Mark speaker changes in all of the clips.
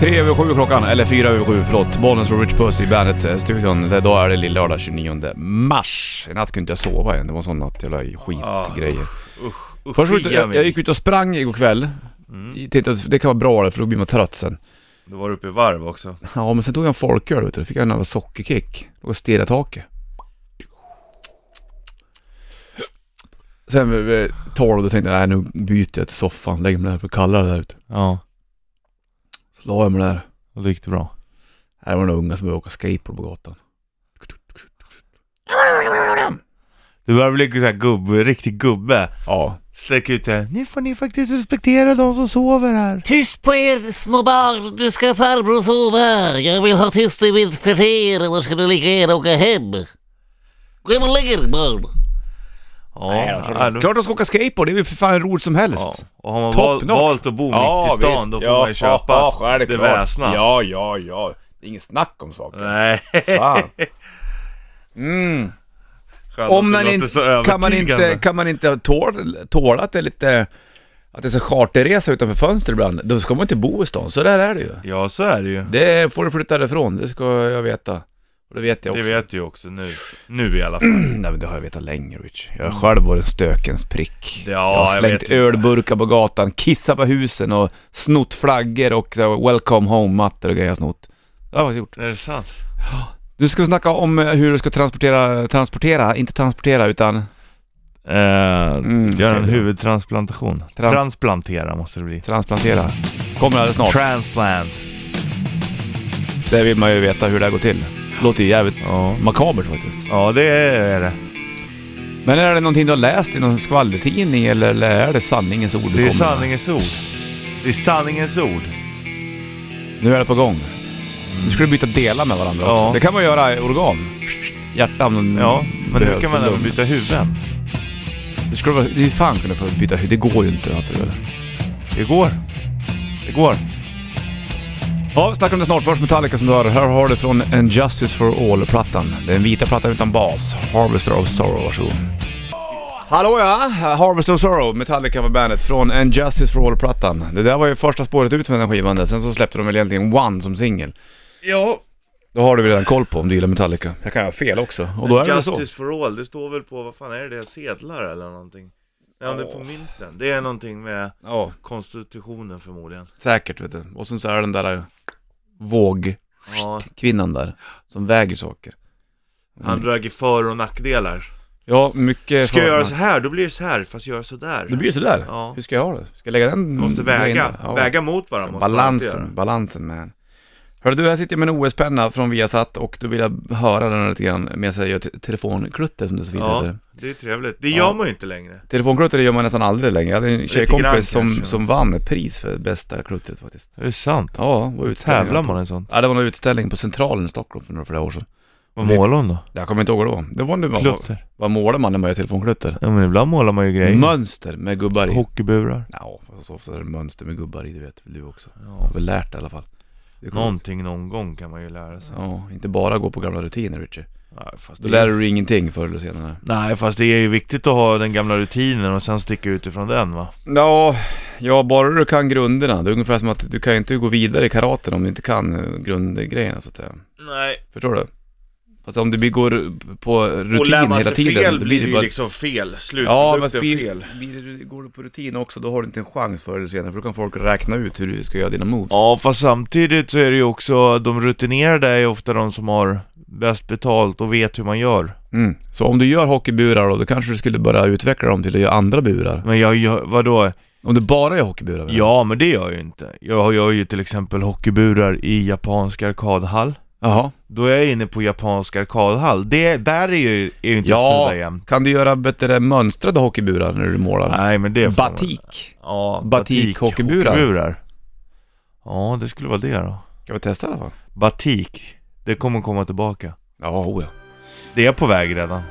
Speaker 1: Tre över sju klockan, eller fyra över sju, förlåt. Bollnäs och Rich Puss i Bandet-studion. Det- Då är det lillördag 29 mars. I natt kunde inte jag sova än, det var en sån natt. Jävla skitgrejer.
Speaker 2: Usch,
Speaker 1: Först var jag,
Speaker 2: fria
Speaker 1: jag,
Speaker 2: Ah. mig.
Speaker 1: jag gick ut och sprang igår kväll.
Speaker 2: Mm.
Speaker 1: Jag Tänkte att det kan vara bra för då blir man trött sen.
Speaker 2: Då var du uppe i varv också.
Speaker 1: Ja men sen tog jag en folköl vet du, då fick jag en jävla sockerkick. Låg och stirrade i taket. Sen vid eh, tolv då tänkte jag nej nu byter jag till soffan, lägger mig där för kallare där ute.
Speaker 2: Ja,
Speaker 1: Så la jag mig där.
Speaker 2: och det gick det bra.
Speaker 1: Här var några unga som började åka skateboard på gatan.
Speaker 2: Du börjar bli så här gubbe, riktig gubbe.
Speaker 1: Ja,
Speaker 2: Sträck ut det. Nu får ni faktiskt respektera de som sover här.
Speaker 3: Tyst på er snubbar, nu ska farbror sova. Jag vill ha tyst i mitt kvarter, annars ska ni lika gärna åka hem. Gå hem och lägg er barn.
Speaker 2: Ja,
Speaker 1: Ja, då- Klart de ska åka skateboard, det är väl för fan roligt som
Speaker 2: ja.
Speaker 1: helst.
Speaker 2: Och har man
Speaker 1: Topp
Speaker 2: val,
Speaker 1: notch.
Speaker 2: valt att bo mitt i stan, då får man ju köpa det, väsnas.
Speaker 1: Ja, ja, ja. Det är inget snack om saken.
Speaker 2: Nej.
Speaker 1: Fan. Mm.
Speaker 2: Skönt
Speaker 1: Om
Speaker 2: att
Speaker 1: man
Speaker 2: det låter så
Speaker 1: inte, kan man
Speaker 2: övertygande.
Speaker 1: inte, kan man inte tåla, tåla att det är lite, att det är så charterresa utanför fönster ibland, då ska man inte bo i stan. Så där är det ju.
Speaker 2: Ja, så är det ju.
Speaker 1: Det får du flytta därifrån, det ska jag veta. Och det vet jag
Speaker 2: Det
Speaker 1: också.
Speaker 2: vet du ju också nu. Nu i alla fall.
Speaker 1: Nej men det har jag vetat länge Rich. Jag har själv varit en stökens prick.
Speaker 2: Ja,
Speaker 1: jag har
Speaker 2: jag
Speaker 1: slängt
Speaker 2: vet inte.
Speaker 1: ölburkar på gatan, kissat på husen och snott flaggor och så här welcome home-mattor och grejer jag har snott. Det har jag faktiskt gjort.
Speaker 2: Är det sant?
Speaker 1: Du ska snacka om eh, hur du ska transportera, transportera, inte transportera utan...
Speaker 2: Eh,
Speaker 1: Mm, ser
Speaker 2: gör en
Speaker 1: du.
Speaker 2: huvudtransplantation. Transplantera måste det bli.
Speaker 1: Transplantera. Kommer alldeles snart.
Speaker 2: Transplant.
Speaker 1: det vill man ju veta hur det här går till. Låter ju jävligt
Speaker 2: Ja.
Speaker 1: makabert faktiskt.
Speaker 2: Ja, det är det.
Speaker 1: Men är det någonting du har läst i någon skvallertidning eller, eller är det sanningens ord du
Speaker 2: Det är
Speaker 1: kommer Mm. med?
Speaker 2: sanningens ord. Det är sanningens ord.
Speaker 1: Nu är det på gång. Nu ska du byta delar med varandra
Speaker 2: Ja.
Speaker 1: också. Det kan man göra i organ. Hjärta om den
Speaker 2: Ja, men nu
Speaker 1: behövs
Speaker 2: kan man
Speaker 1: ändå.
Speaker 2: även byta huvuden.
Speaker 1: Det skulle vara... Det är fan kunna få byta hud. Det går ju inte att du gör det.
Speaker 2: Det går. Det går.
Speaker 1: Ja, vi snackar om det snart. Först Metallica som du hör. Här har du från En Justice For All-plattan. Den vita plattan utan bas. Harvester of Sorrow, varsågod. Hallå ja! Harvester of Sorrow, Metallica var bandet från En Justice For All-plattan. Det där var ju första spåret ut med den skivan där. Sen så släppte de väl egentligen One som singel.
Speaker 2: Ja,
Speaker 1: Då har du väl redan koll på om du gillar Metallica. Jag kan ha fel också. Och då är det väl så.
Speaker 2: Justice for all. Det står väl på, vad fan är det? Sedlar eller någonting? Nej, om det är på
Speaker 1: Åh.
Speaker 2: mynten. Det är någonting med
Speaker 1: Ja.
Speaker 2: konstitutionen förmodligen.
Speaker 1: Säkert vet du. Och sen så är den där äh, vågkvinnan
Speaker 2: Ja,
Speaker 1: där som väger saker.
Speaker 2: han väger för och nackdelar.
Speaker 1: Ja, mycket...
Speaker 2: Ska jag
Speaker 1: för-
Speaker 2: göra så här, då blir det så här. Fast jag gör så där.
Speaker 1: Det blir Mm, sådär.
Speaker 2: Ja.
Speaker 1: Hur ska jag ha det? Ska jag lägga den?
Speaker 2: Man måste
Speaker 1: grejen
Speaker 2: väga.
Speaker 1: där? Ja.
Speaker 2: Väga mot varandra måste man alltid
Speaker 1: Balansen,
Speaker 2: göra.
Speaker 1: balansen man. Hörru du, här sitter jag med en OS-penna från Viasat och då vill jag höra den lite grann medan jag gör te- telefonklutter som det så fint
Speaker 2: Ja,
Speaker 1: heter.
Speaker 2: det är trevligt. Det gör man ju inte längre.
Speaker 1: Telefonklutter det gör man nästan aldrig längre. Jag hade en
Speaker 2: grann
Speaker 1: tjejkompis som,
Speaker 2: kanske.
Speaker 1: som vann ett pris för bästa kluttret faktiskt.
Speaker 2: Är det sant?
Speaker 1: Ja, det var utställning.
Speaker 2: Tävlar man i sånt?
Speaker 1: Ja, det var en utställning på Centralen i Stockholm för några flera år sedan.
Speaker 2: Vad
Speaker 1: Vi-
Speaker 2: målar hon då?
Speaker 1: Jag kommer inte ihåg vad det var. Det var nu vad,
Speaker 2: Klutter?
Speaker 1: vad målar man när man gör telefonklutter?
Speaker 2: Ja men ibland målar man ju grejer.
Speaker 1: Mönster med gubbar i.
Speaker 2: Hockeyburar.
Speaker 1: Ja, fast så ofta är det mönster med gubbar i, det vet väl du också. Jag
Speaker 2: Ja.
Speaker 1: har väl lärt det i alla fall. Det kommer-
Speaker 2: Någonting någon gång kan man ju lära sig.
Speaker 1: Ja, inte bara gå på gamla rutiner Richie.
Speaker 2: Nej, fast
Speaker 1: Då
Speaker 2: det
Speaker 1: lär
Speaker 2: är...
Speaker 1: du dig ingenting förr eller senare.
Speaker 2: Nej fast det är ju viktigt att ha den gamla rutinen och sen sticka utifrån den va?
Speaker 1: Ja, ja, bara du kan grunderna. Det är ungefär som att du kan ju inte gå vidare i karaten om du inte kan eh, grundgrejerna så att säga.
Speaker 2: Nej,
Speaker 1: Förstår du? Fast om du blir- går på rutin
Speaker 2: och lär man
Speaker 1: hela
Speaker 2: sig
Speaker 1: tiden.
Speaker 2: fel
Speaker 1: då
Speaker 2: blir det
Speaker 1: det
Speaker 2: ju
Speaker 1: bara-
Speaker 2: liksom fel.
Speaker 1: Ja,
Speaker 2: Slutprodukten
Speaker 1: men
Speaker 2: är fel.
Speaker 1: blir, blir, du- går du på rutin också då har du inte en chans förr eller senare. För då kan folk räkna ut hur du ska göra dina moves.
Speaker 2: Ja fast samtidigt så är det ju också, de rutinerade är ju ofta de som har bäst betalt och vet hur man gör.
Speaker 1: Mm. Så om du gör hockeyburar då, då kanske du skulle börja utveckla dem till att göra andra burar.
Speaker 2: Men jag gör, vadå?
Speaker 1: Om du bara gör hockeyburar? menar jag.
Speaker 2: Ja men det gör jag ju inte. Jag gör ju till exempel hockeyburar i japansk arkadhall.
Speaker 1: Jaha.
Speaker 2: Då är jag inne på japansk arkadhall. Det, där är ju, är ju inte att
Speaker 1: Ja,
Speaker 2: snudda jämt.
Speaker 1: kan du göra bättre mönstrade hockeyburar när du målar?
Speaker 2: Nej men det får man-
Speaker 1: Batik.
Speaker 2: Ja,
Speaker 1: Batik, hockeyburar.
Speaker 2: Ja, det skulle vara det då.
Speaker 1: Ska vi testa i alla fall?
Speaker 2: Batik, det kommer komma tillbaka.
Speaker 1: Ja, oh ja.
Speaker 2: Det är på väg redan.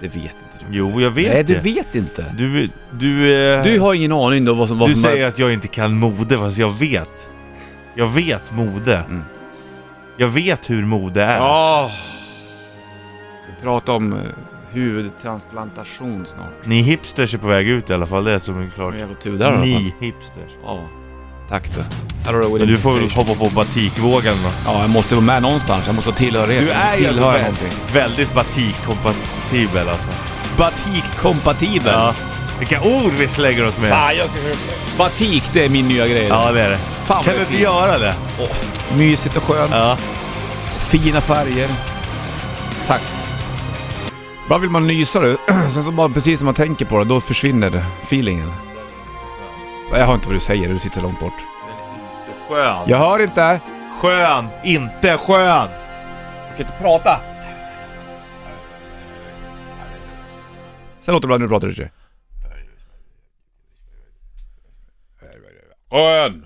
Speaker 1: Det vet inte du.
Speaker 2: Jo, jag vet
Speaker 1: Nej, du
Speaker 2: det.
Speaker 1: vet inte.
Speaker 2: Du, du, eh,
Speaker 1: Du har ingen aning då vad som... Vad
Speaker 2: du
Speaker 1: som
Speaker 2: säger att jag inte kan mode, fast jag vet. Jag vet mode.
Speaker 1: Mm.
Speaker 2: Jag vet hur mode är.
Speaker 1: Ja. Ska vi prata om eh, huvudtransplantation snart.
Speaker 2: Ni hipsters är på väg ut i alla fall, det är som är klart.
Speaker 1: Har jävla tur där i alla fall.
Speaker 2: Ni hipsters.
Speaker 1: Ja. Tack du. Här har du
Speaker 2: Men
Speaker 1: William
Speaker 2: du får väl
Speaker 1: Temptation.
Speaker 2: hoppa på batikvågen då.
Speaker 1: Ja, jag måste vara med någonstans. Jag måste ha tillhörighet.
Speaker 2: Du är ju
Speaker 1: Tillhöra
Speaker 2: vä-
Speaker 1: någonting.
Speaker 2: väldigt batikkompatibel alltså.
Speaker 1: Batikkompatibel.
Speaker 2: Ja. Vilka ord vi slänger oss med.
Speaker 1: Fan, jag ska... Batik, det är min nya grej.
Speaker 2: Ja, det är det.
Speaker 1: Fan, vad
Speaker 2: kan
Speaker 1: det
Speaker 2: du
Speaker 1: är
Speaker 2: inte
Speaker 1: fint.
Speaker 2: göra det?
Speaker 1: Åh, mysigt och skönt.
Speaker 2: Ja.
Speaker 1: Fina färger. Tack. Bara vill man nysa du, sen så bara precis som man tänker på det, då försvinner feelingen. Jag hör inte vad du säger, du sitter långt bort.
Speaker 2: Skön.
Speaker 1: Jag hör inte!
Speaker 2: Skön. Inte skön.
Speaker 1: Du kan inte prata! Sen låter det bra, nu pratar du inte. Skön!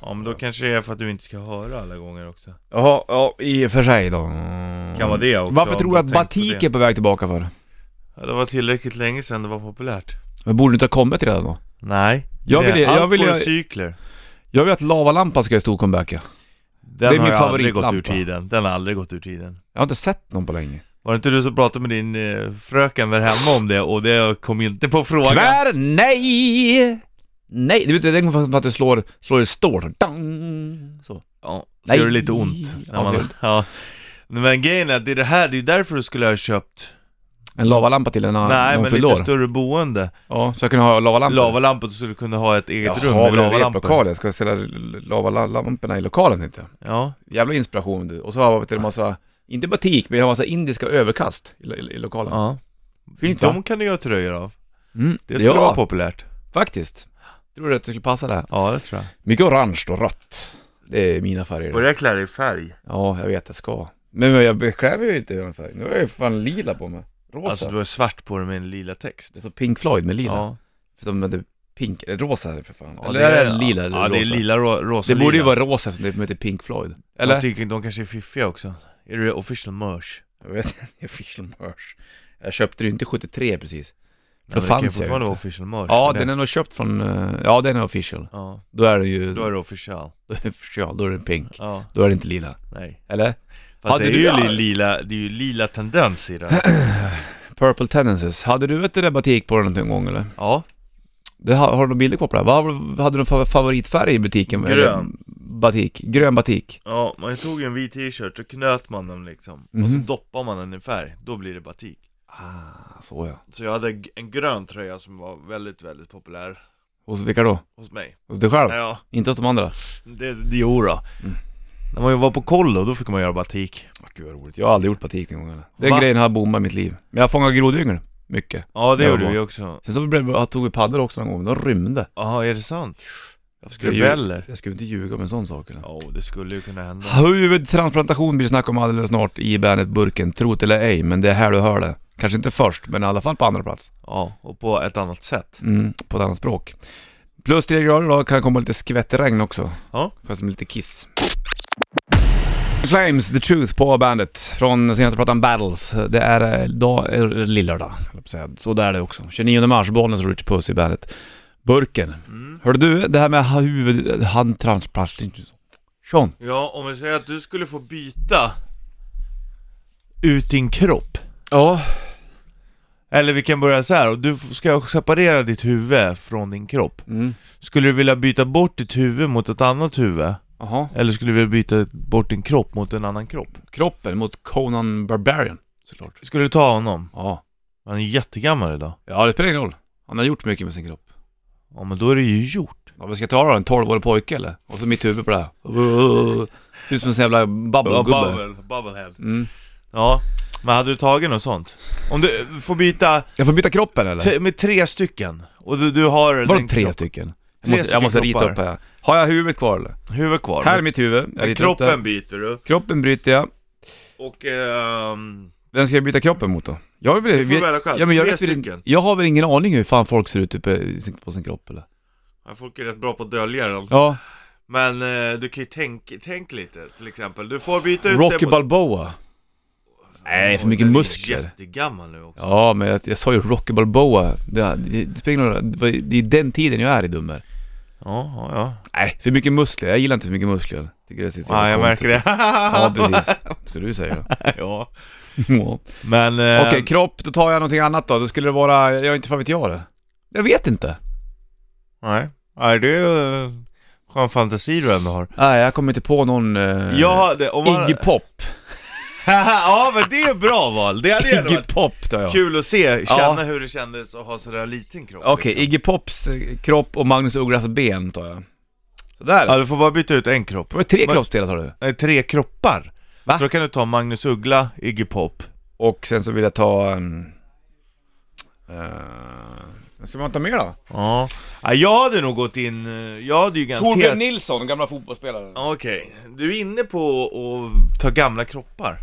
Speaker 2: Ja, men då kanske det är för att du inte ska höra alla gånger också.
Speaker 1: Jaha, ja i och för sig då. Mm.
Speaker 2: Kan vara det också.
Speaker 1: Varför
Speaker 2: om
Speaker 1: tror du att
Speaker 2: tänkt på
Speaker 1: batik
Speaker 2: det.
Speaker 1: är på väg tillbaka för?
Speaker 2: Ja, det var tillräckligt länge sedan det var populärt.
Speaker 1: Men borde det inte ha kommit redan då?
Speaker 2: Nej.
Speaker 1: Jag
Speaker 2: det-
Speaker 1: vill- jag
Speaker 2: Allt
Speaker 1: vill-
Speaker 2: går i
Speaker 1: jag-
Speaker 2: cykler.
Speaker 1: Jag vill att lavalampan ska göra stor comeback. ja.
Speaker 2: Den
Speaker 1: det är min
Speaker 2: har ju aldrig gått
Speaker 1: favoritlampa.
Speaker 2: ur tiden. Den har aldrig gått ur tiden.
Speaker 1: Jag har inte sett någon på länge.
Speaker 2: Var det inte du som pratade med din eh, fröken där hemma om det och det kom inte på frågan?
Speaker 1: Tvär nej! Nej, det betyder den kommer att du slår, slår det stort. Dang! Så.
Speaker 2: Ja, så
Speaker 1: Nej.
Speaker 2: gör det lite ont.
Speaker 1: Ja,
Speaker 2: När
Speaker 1: så gör
Speaker 2: man,
Speaker 1: det.
Speaker 2: ja. Men grejen är att det är det här, det är ju därför du skulle ha köpt,
Speaker 1: En lavalampa till en
Speaker 2: nej
Speaker 1: annan
Speaker 2: men
Speaker 1: fyllde
Speaker 2: lite
Speaker 1: år.
Speaker 2: större boende.
Speaker 1: Ja, så jag kunde ha lavalampor.
Speaker 2: Lavalampor så du kunde ha ett
Speaker 1: Jaha, men
Speaker 2: eget rum med
Speaker 1: jag har en
Speaker 2: lavalampor.
Speaker 1: replokal. Jag ska ställa lavalamporna i lokalen tänkte jag.
Speaker 2: Ja,
Speaker 1: Jävla inspiration du. Och så har jag en massa, inte batik, men jag har massa indiska överkast i, i, i lokalen.
Speaker 2: ja.
Speaker 1: Fint va?
Speaker 2: De kan du göra tröjor av.
Speaker 1: Mm,
Speaker 2: Det skulle vara populärt.
Speaker 1: faktiskt. Tror du att det skulle passa där?
Speaker 2: Ja, det tror jag.
Speaker 1: Mycket orange och rött. Det är mina färger.
Speaker 2: Börja klä dig i färg.
Speaker 1: Ja, jag vet jag ska. Men men jag klär mig ju inte i den färgen. Nu har jag ju fan lila på mig. Rosa.
Speaker 2: Alltså du har svart på dig med en lila text.
Speaker 1: Det står Pink Floyd med lila.
Speaker 2: Ja,
Speaker 1: För de hade pink, eller rosa är det för fan.
Speaker 2: ja
Speaker 1: eller är det lila eller
Speaker 2: Ja,
Speaker 1: rosa?
Speaker 2: det är lila, ro, rosa
Speaker 1: Det borde ju
Speaker 2: lila.
Speaker 1: vara rosa eftersom det heter Pink Floyd. Eller?
Speaker 2: Fast det- de kanske är fiffiga också. Är du official merch?
Speaker 1: Jag vet inte, official merch. Jag köpte det ju inte 73 precis. För då
Speaker 2: Ja, men det kan ju
Speaker 1: fanns jag
Speaker 2: fortfarande
Speaker 1: ju
Speaker 2: vara
Speaker 1: inte.
Speaker 2: official merch.
Speaker 1: Ja,
Speaker 2: för
Speaker 1: den är nog köpt från, eh, ja den är official.
Speaker 2: Ja,
Speaker 1: Då är det ju,
Speaker 2: då är det official.
Speaker 1: official, då är det pink.
Speaker 2: Ja,
Speaker 1: Då är det inte lila.
Speaker 2: nej.
Speaker 1: Eller?
Speaker 2: Fast
Speaker 1: Hade
Speaker 2: det är
Speaker 1: du-
Speaker 2: ju
Speaker 1: ja.
Speaker 2: li- lila, det är ju lila tendens i det.
Speaker 1: Purple Tendencies. Hade du ett batik på dig någon gång eller?
Speaker 2: Ja,
Speaker 1: Det har, har du några bilder kvar på det? Vad har- hade du en fa- favoritfärg i butiken?
Speaker 2: Grön.
Speaker 1: Eller Batik. Grön batik.
Speaker 2: ja, man tog en vit t-shirt så knöt man den liksom och
Speaker 1: Mhm.
Speaker 2: så doppar man den i färg, då blir det batik
Speaker 1: Ah, så ja.
Speaker 2: Så jag hade g- en grön tröja som var väldigt, väldigt populär
Speaker 1: Hos vilka då?
Speaker 2: hos mig
Speaker 1: Hos dig själv?
Speaker 2: Ja,
Speaker 1: Inte hos de andra?
Speaker 2: det, det jo då.
Speaker 1: Mm.
Speaker 2: När man var på kollo, då fick man göra batik
Speaker 1: Åh, gud vad roligt. Jag har aldrig gjort batik någon gång eller. Den
Speaker 2: Va?
Speaker 1: grejen har bommat mitt liv. Men jag fångar grodyngel. Mycket.
Speaker 2: Ja, det
Speaker 1: Ja,
Speaker 2: gjorde
Speaker 1: va.
Speaker 2: vi också
Speaker 1: Sen så blev, jag tog vi paddor också någon gång, men de rymde.
Speaker 2: Jaha, är det sant?
Speaker 1: Jag skulle, ju,
Speaker 2: Rebeller?
Speaker 1: jag skulle inte ljuga om en sån sak eller.
Speaker 2: Ja, det skulle ju kunna hända
Speaker 1: Huvudtransplantation blir det snack om alldeles snart i bandet Burken, trot eller ej, men det är här du hör det. Kanske inte först, men i alla fall på andra plats.
Speaker 2: Ja, och på ett annat sätt
Speaker 1: Mm, på ett annat språk. Plus tre grader idag kan komma lite skvättregn också.
Speaker 2: Ja.
Speaker 1: Fast som lite kiss. Flames, The Truth på bandet från senaste plattan Battles. Det är eh, dag, eh, lillördag, höll jag på att säga. Så där är det också. 29 mars, Bollnäs och Richard Puss i bandet. Burken.
Speaker 2: mm.
Speaker 1: Hörde du det här med ha- huvud... Handtransplantation?
Speaker 2: Ja, om vi säger att du skulle få byta ut din kropp
Speaker 1: Ja.
Speaker 2: Eller vi kan börja så här. och du ska separera ditt huvud från din kropp.
Speaker 1: Mm.
Speaker 2: Skulle du vilja byta bort ditt huvud mot ett annat huvud?
Speaker 1: Jaha.
Speaker 2: Eller skulle du vilja byta bort din kropp mot en annan kropp?
Speaker 1: Kroppen mot Conan Barbarian, såklart.
Speaker 2: Skulle du ta honom?
Speaker 1: Ja.
Speaker 2: Han är jättegammal idag.
Speaker 1: Ja, det spelar ingen roll. Han har gjort mycket med sin kropp.
Speaker 2: Ja men då är det ju gjort.
Speaker 1: Ja, vad ska jag ta då? En 12-årig pojke eller? Och så mitt huvud på det här. Ser ut som en sån jävla bubblegubbe.
Speaker 2: bubblehead.
Speaker 1: Mm.
Speaker 2: Ja, men hade du tagit något sånt? Om du får byta
Speaker 1: Jag får byta kroppen eller?
Speaker 2: t- med tre stycken, och du, du har...
Speaker 1: Vadå
Speaker 2: den
Speaker 1: tre
Speaker 2: kropp-
Speaker 1: stycken? Jag
Speaker 2: Tre
Speaker 1: måste, jag måste
Speaker 2: stycken
Speaker 1: rita upp
Speaker 2: kroppar.
Speaker 1: här. Har jag huvudet kvar eller?
Speaker 2: Huvud kvar.
Speaker 1: Här är mitt huvud. Jag
Speaker 2: Men
Speaker 1: ritar upp det.
Speaker 2: kroppen byter du,
Speaker 1: Kroppen bryter jag.
Speaker 2: och... ehm,
Speaker 1: Vem ska jag byta kroppen mot då? Jag vill,
Speaker 2: du får välja själv.
Speaker 1: ja, men jag,
Speaker 2: tre
Speaker 1: vet väl,
Speaker 2: stycken.
Speaker 1: jag har väl ingen aning hur fan folk ser ut uppe i sin- på sin kropp eller?
Speaker 2: Ja, Folk är rätt bra på att dölja dem.
Speaker 1: Ja,
Speaker 2: Men eh, du kan ju tänka, tänk lite till exempel. Du får byta ut
Speaker 1: Rocky
Speaker 2: mot-
Speaker 1: Balboa. Nej, för mycket
Speaker 2: Den är
Speaker 1: muskler.
Speaker 2: jättegammal nu också.
Speaker 1: Ja, men jag, jag sa ju Rocky Balboa. Det, det, det spelar ingen roll. Det var- det är den tiden jag är i dummer.
Speaker 2: Ja, ja. ja.
Speaker 1: Nej, för mycket muskler. Jag gillar inte för mycket muskler. Tycker det ser så
Speaker 2: ja jag
Speaker 1: konstigt
Speaker 2: märker
Speaker 1: ut.
Speaker 2: det.
Speaker 1: Ja, precis. Ska du säga.
Speaker 2: ja.
Speaker 1: Ja.
Speaker 2: Men... Eh,
Speaker 1: Okej, kropp. Då tar jag någonting annat då. Då skulle det vara... Jag inte fan vet jag det. Jag vet inte.
Speaker 2: Nej. Nej, det är ju... eh, Skön fantasi du ändå har.
Speaker 1: Nej, jag kommer inte på någon... Eh,
Speaker 2: Jag hade, om man...
Speaker 1: Iggy Pop.
Speaker 2: ja men det är bra val, det hade ju ändå
Speaker 1: Iggy
Speaker 2: varit
Speaker 1: Pop tar jag.
Speaker 2: kul att se, känna
Speaker 1: Ja.
Speaker 2: hur det kändes att ha sådär liten kropp.
Speaker 1: Okej,
Speaker 2: liksom.
Speaker 1: Iggy Pops eh, kropp och Magnus Ugglas ben tar jag. Sådär.
Speaker 2: Ja
Speaker 1: Det
Speaker 2: du får bara byta ut en kropp.
Speaker 1: var tre
Speaker 2: Men-
Speaker 1: kroppsdelar tar du.
Speaker 2: Nej, tre kroppar.
Speaker 1: Va?
Speaker 2: Så då kan du ta Magnus Uggla, Iggy Pop.
Speaker 1: Och sen så vill jag ta... Um, uh, ska man ta mer då?
Speaker 2: Ja. ja, jag hade nog gått in, eh, jag hade ju
Speaker 1: Torbjörn
Speaker 2: garanterat...
Speaker 1: Nilsson, gamla fotbollsspelaren. Ja.
Speaker 2: Okej, du är inne på att ta gamla kroppar.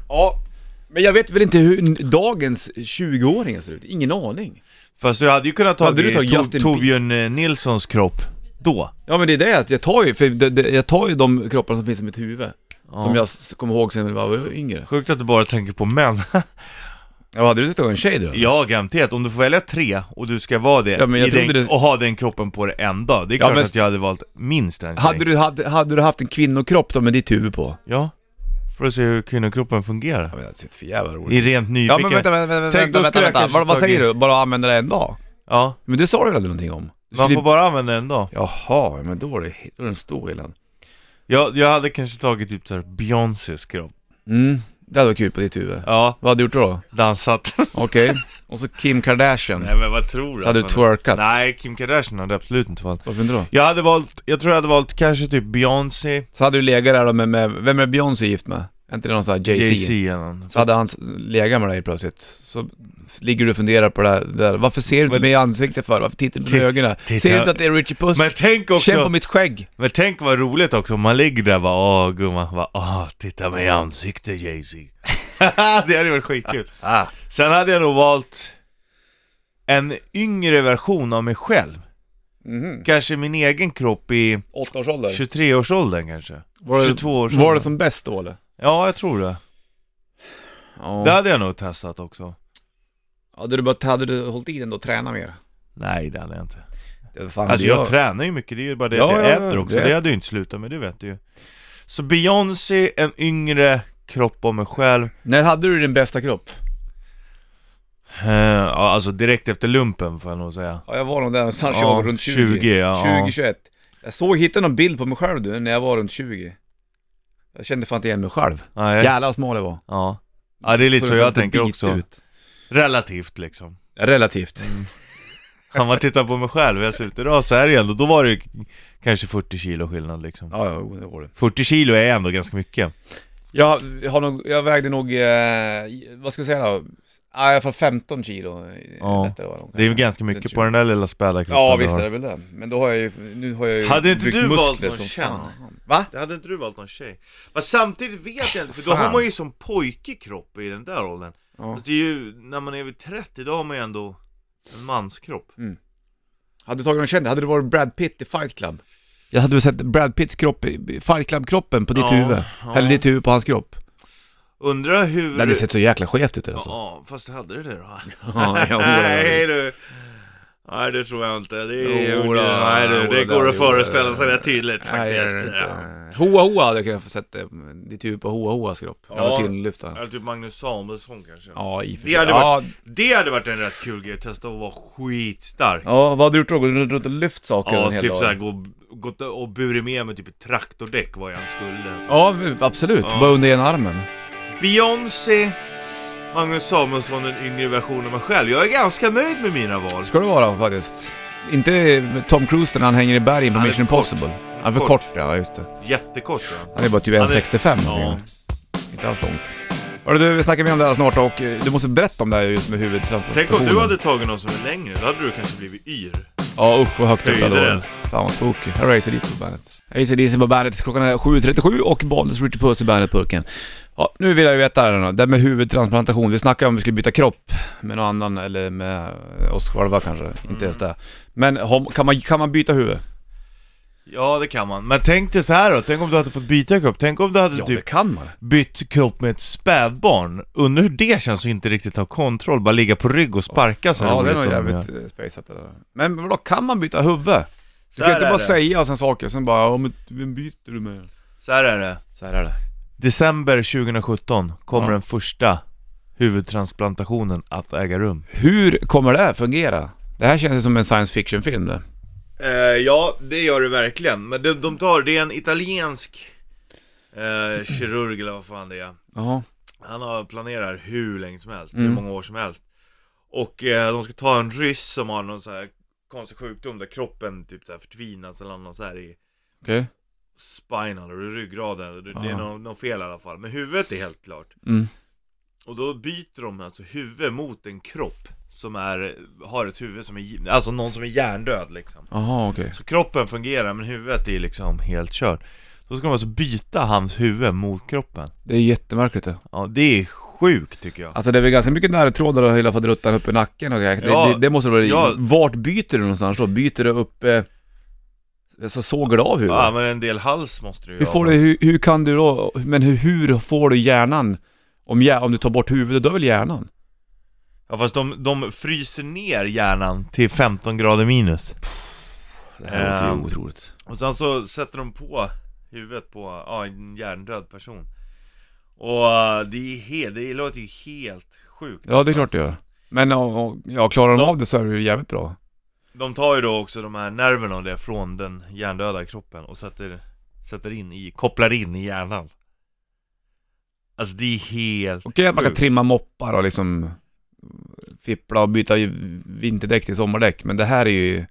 Speaker 1: Men jag vet väl inte hur n- dagens 20-åringar ser ut? Ingen aning.
Speaker 2: Fast du hade ju kunnat ta
Speaker 1: Hade du tagit Justin Bie-
Speaker 2: Torbjörn eh, Nilssons kropp då.
Speaker 1: Ja men det är det att jag tar ju, för det, det, jag tar ju de kropparna som finns i mitt huvud. Som jag s- kommer ihåg sen jag var yngre.
Speaker 2: Sjukt att du bara tänker på män.
Speaker 1: Ja, hade du tagit en tjej då?
Speaker 2: ja, garanterat. Om du får välja tre och du ska vara det,
Speaker 1: Ja, men jag
Speaker 2: i den,
Speaker 1: trodde det-
Speaker 2: och ha den kroppen på dig en dag. Det är
Speaker 1: Ja,
Speaker 2: klart
Speaker 1: men-
Speaker 2: att jag hade valt minst en tjej.
Speaker 1: Hade du, hade, hade du haft en kvinnokropp då med ditt huvud på?
Speaker 2: Ja, för att se hur kvinnokroppen fungerar.
Speaker 1: Ja men det ser för jävla roligt
Speaker 2: I rent nyfiken...
Speaker 1: Ja men vänta, vänta, vänta,
Speaker 2: Tänk,
Speaker 1: vänta,
Speaker 2: då
Speaker 1: vänta,
Speaker 2: skulle jag
Speaker 1: vänta.
Speaker 2: kanske
Speaker 1: Vad, vad säger
Speaker 2: tagit-
Speaker 1: du? Bara använda det en dag?
Speaker 2: Ja,
Speaker 1: Men det sa du aldrig någonting om? Du
Speaker 2: man
Speaker 1: skulle-
Speaker 2: får bara använda den en dag.
Speaker 1: Jaha, men då är det, då är det en stor skillnad
Speaker 2: Jag, jag hade kanske tagit typ såhär Beyoncés kropp.
Speaker 1: Mm, det hade varit kul på ditt huvud
Speaker 2: Ja,
Speaker 1: Vad hade du gjort då?
Speaker 2: dansat.
Speaker 1: Okej, och så Kim Kardashian
Speaker 2: Nej men vad tror du?
Speaker 1: Mm. Så hade
Speaker 2: att
Speaker 1: du
Speaker 2: man-
Speaker 1: twerkat?
Speaker 2: Nej, Kim Kardashian hade absolut inte valt.
Speaker 1: Varför inte då?
Speaker 2: Jag hade valt, jag tror jag hade valt kanske typ Beyoncé,
Speaker 1: Så hade du legat där då med, med vem är Beyoncé gift med? Är inte det någon sån här Jay-Z?
Speaker 2: Jay-Z eller någon.
Speaker 1: Så hade han s- legat med dig plötsligt, så ligger du och funderar på det där, det där. varför ser du inte
Speaker 2: Men-
Speaker 1: mig i ansiktet för? Varför tittar du inte med
Speaker 2: Ti-
Speaker 1: ögonen?
Speaker 2: titta-
Speaker 1: Ser du inte att det är Richie Puss?
Speaker 2: Men tänk också,
Speaker 1: Känn på mitt skägg!
Speaker 2: men tänk vad roligt också om man ligger där och bara åh gumman, bara, åh titta mig i ansiktet Jay-Z. det hade varit skitkul.
Speaker 1: Ah.
Speaker 2: Sen hade jag nog valt en yngre version av mig själv.
Speaker 1: Mhm.
Speaker 2: Kanske min egen kropp i
Speaker 1: Åttaårsålder?
Speaker 2: 23-årsåldern kanske.
Speaker 1: Var det-
Speaker 2: 22-årsåldern.
Speaker 1: Var det som bäst då eller?
Speaker 2: Ja, jag tror det. Det
Speaker 1: Ja.
Speaker 2: hade jag nog testat också.
Speaker 1: Hade du, bara, hade du hållit i den då och tränat mer?
Speaker 2: Nej, det hade jag inte.
Speaker 1: Det fan,
Speaker 2: Alltså jag tränar ju mycket, det är ju bara det att
Speaker 1: Ja,
Speaker 2: jag
Speaker 1: ja,
Speaker 2: äter
Speaker 1: ja,
Speaker 2: också.
Speaker 1: det-
Speaker 2: Det hade jag ju inte slutat med, det vet du ju. Så Beyoncé, en yngre kropp av mig själv.
Speaker 1: När hade du din bästa kropp?
Speaker 2: Eh, ja, alltså direkt efter lumpen får jag nog säga.
Speaker 1: Ja, jag var nog där någonstans,
Speaker 2: Ja,
Speaker 1: jag var runt 20.
Speaker 2: 20, ja, ja.
Speaker 1: 20, 21. Jag såg, hittade någon bild på mig själv du, när jag var runt 20. Jag kände fan inte igen mig själv.
Speaker 2: Nej. Ja.
Speaker 1: Jävlar vad smal jag var.
Speaker 2: Eh. ja. det är lite så,
Speaker 1: det
Speaker 2: jag
Speaker 1: satt en
Speaker 2: tänker
Speaker 1: bit
Speaker 2: också.
Speaker 1: ut.
Speaker 2: Relativt liksom.
Speaker 1: Relativt.
Speaker 2: Om man tittar på mig själv, hur jag ser ut idag så här igen, och då var det ju k- kanske 40 kilo skillnad liksom.
Speaker 1: Ja, ja, det var det.
Speaker 2: 40 kilo är ändå ganska mycket.
Speaker 1: Jag, har nog, jag vägde nog, eh, vad ska jag säga då? Ja, i alla fall 15 kilo. eh,
Speaker 2: Ja.
Speaker 1: lättare var nog,
Speaker 2: Det är ju
Speaker 1: kanske.
Speaker 2: ganska mycket på den där lilla späda kroppen
Speaker 1: Ja
Speaker 2: du
Speaker 1: visst
Speaker 2: har.
Speaker 1: är det väl det. Men då har jag ju, nu har jag ju
Speaker 2: Hade inte
Speaker 1: byggt
Speaker 2: du
Speaker 1: muskler
Speaker 2: valt någon
Speaker 1: som
Speaker 2: tjej?
Speaker 1: fan. Va?
Speaker 2: Det hade inte du valt någon tjej? Men samtidigt vet jag inte, för då
Speaker 1: Fan.
Speaker 2: har man ju som pojkig kropp i den där åldern.
Speaker 1: Ja.
Speaker 2: Fast det är ju, när man är vid 30, då har man ju ändå en manskropp.
Speaker 1: Hade du tagit någon kändis? Hade du varit Brad Pitt i Fight Club? Jag hade väl sett Brad Pitts kropp, i- Fight Club-kroppen på ditt
Speaker 2: Ja,
Speaker 1: huvud.
Speaker 2: ja.
Speaker 1: Eller ditt huvud på hans kropp.
Speaker 2: Undrar hur...
Speaker 1: Det hade sett så jäkla skevt ut alltså.
Speaker 2: Ja, fast hade det det då?
Speaker 1: Ja, jo, det hade det.
Speaker 2: Nej du! Nej det tror jag inte, det, är,
Speaker 1: Jo, det-
Speaker 2: nej, du,
Speaker 1: jo,
Speaker 2: det
Speaker 1: det-
Speaker 2: går att
Speaker 1: jo,
Speaker 2: föreställa
Speaker 1: det-
Speaker 2: sig rätt tydligt
Speaker 1: Nej, det
Speaker 2: faktiskt.
Speaker 1: är det
Speaker 2: Ja.
Speaker 1: inte. Hoa Hoa hade jag kunnat få sett eh, ditt huvud på Hoa Hoas kropp. Ja. Jag var
Speaker 2: Ja.
Speaker 1: tyngdlyftaren.
Speaker 2: Eller typ Magnus Samuelsson kanske.
Speaker 1: Ja, i och för
Speaker 2: Det
Speaker 1: sig.
Speaker 2: hade
Speaker 1: ja,
Speaker 2: Det hade varit en rätt kul grej, testa att vara skitstark. Ja,
Speaker 1: ja, vad hade du gjort då? Gått runt och lyft saker en hel
Speaker 2: typ
Speaker 1: dag?
Speaker 2: såhär gå, gått och burit med mig typ ett traktordäck vad jag än skulle.
Speaker 1: Ja, absolut.
Speaker 2: Ja.
Speaker 1: Bara under ena armen.
Speaker 2: Beyoncé, Magnus Samuelsson, den yngre versionen av mig själv. Jag är ganska nöjd med mina val.
Speaker 1: Ska det vara faktiskt. Inte Tom Cruise när han hänger i bergen på
Speaker 2: Han är
Speaker 1: Mission
Speaker 2: för kort.
Speaker 1: Impossible.
Speaker 2: är
Speaker 1: Han är för
Speaker 2: för
Speaker 1: kort, ja just det.
Speaker 2: Jättekort ja.
Speaker 1: Han är bara typ
Speaker 2: Han är-
Speaker 1: 1,65
Speaker 2: Ja.
Speaker 1: någonting. Inte alls långt. Hörru du, vi snackar mer om det här snart och eh, du måste berätta om det här just med huvudtransplantationen.
Speaker 2: Tänk om du hade tagit någon som är längre, då hade du kanske blivit yr.
Speaker 1: Ja usch vad högt upp jag
Speaker 2: Höjdrädd.
Speaker 1: låg. Fan vad spooky. Här är AC/DC på bandet. AC/DC på bandet, klockan är 7.37 och Bollnäs Richard Puss i bandet-purken. Ja, nu vill jag ju veta här nu. Det här med huvudtransplantation. Vi snackade om vi skulle byta kropp med någon annan eller med oss själva kanske.
Speaker 2: Mm.
Speaker 1: Inte ens det. Men har- kan man, kan man byta huvud?
Speaker 2: Ja det kan man, men tänk dig så här då, tänk om du hade fått byta kropp, tänk om du hade
Speaker 1: Ja det
Speaker 2: typ
Speaker 1: kan man.
Speaker 2: bytt kropp med ett spädbarn Undrar hur det känns att inte riktigt ha kontroll, bara ligga på rygg och sparka så här
Speaker 1: Ja, det är
Speaker 2: roligt
Speaker 1: nog
Speaker 2: som de
Speaker 1: jävligt
Speaker 2: gör.
Speaker 1: eh, spaceat det där. Men vadå, kan man byta huvud? Du
Speaker 2: Så
Speaker 1: kan
Speaker 2: här
Speaker 1: inte
Speaker 2: är
Speaker 1: bara
Speaker 2: det.
Speaker 1: säga och sen saker, sen bara ja, men vem byter du med?
Speaker 2: Så här är det,
Speaker 1: Så här är det.
Speaker 2: december 2017 kommer
Speaker 1: Ja.
Speaker 2: den första huvudtransplantationen att äga rum
Speaker 1: Hur kommer det här fungera? Det här känns ju som en science fiction-film det.
Speaker 2: Eh, ja, det gör det verkligen. Men de, de tar, det är en italiensk eh, kirurg eller vad fan det är.
Speaker 1: Ja.
Speaker 2: Han har planerar hur länge som helst,
Speaker 1: Mm.
Speaker 2: hur många år som helst. Och eh, de ska ta en ryss som har någon så här konstig sjukdom där kroppen typ så här förtvinas eller något så här i
Speaker 1: Okej.
Speaker 2: spinal, eller ryggraden. Det, det är
Speaker 1: Ah.
Speaker 2: något något fel i alla fall. Men huvudet är helt klart.
Speaker 1: Mm.
Speaker 2: Och då byter de alltså huvud mot en kropp som är, har ett huvud som är, alltså någon som är hjärndöd liksom.
Speaker 1: Jaha, okej.
Speaker 2: Så kroppen fungerar men huvudet är liksom helt kört. Då ska de alltså byta hans huvud mot kroppen.
Speaker 1: Det är jättemärkligt det.
Speaker 2: Ja, det är sjukt tycker jag.
Speaker 1: Alltså det är väl ganska mycket närtrådar och hela faderuttan uppe i nacken och grejer.
Speaker 2: Ja.
Speaker 1: det, det, det måste vara...
Speaker 2: Ja.
Speaker 1: Vart byter du någonstans då? Byter du upp... Eh, så sågar du av huvudet?
Speaker 2: Ja, men en del hals måste du ju
Speaker 1: hur,
Speaker 2: ha.
Speaker 1: får du, hur, hur kan du då... Men hur, hur får du hjärnan? Om, hjär, om du tar bort huvudet, då är väl hjärnan?
Speaker 2: Ja, fast de, de fryser ner hjärnan till 15 grader minus.
Speaker 1: Det här låter ju
Speaker 2: Ehm.
Speaker 1: otroligt.
Speaker 2: Och sen så sätter de på huvudet på ja, en hjärndöd person. Och eh, det, är helt, det låter ju helt sjukt. alltså.
Speaker 1: Ja, det är klart det gör. Men och, och, ja, klarar de
Speaker 2: De-
Speaker 1: av det så är det ju jävligt bra.
Speaker 2: De tar ju då också de här nerverna och det från den hjärndöda kroppen och sätter, sätter in i, kopplar in i hjärnan. Alltså det är helt
Speaker 1: Okej att man kan
Speaker 2: sjukt.
Speaker 1: trimma moppar och liksom fippla och byta ju vinterdäck till sommardäck, men det här är ju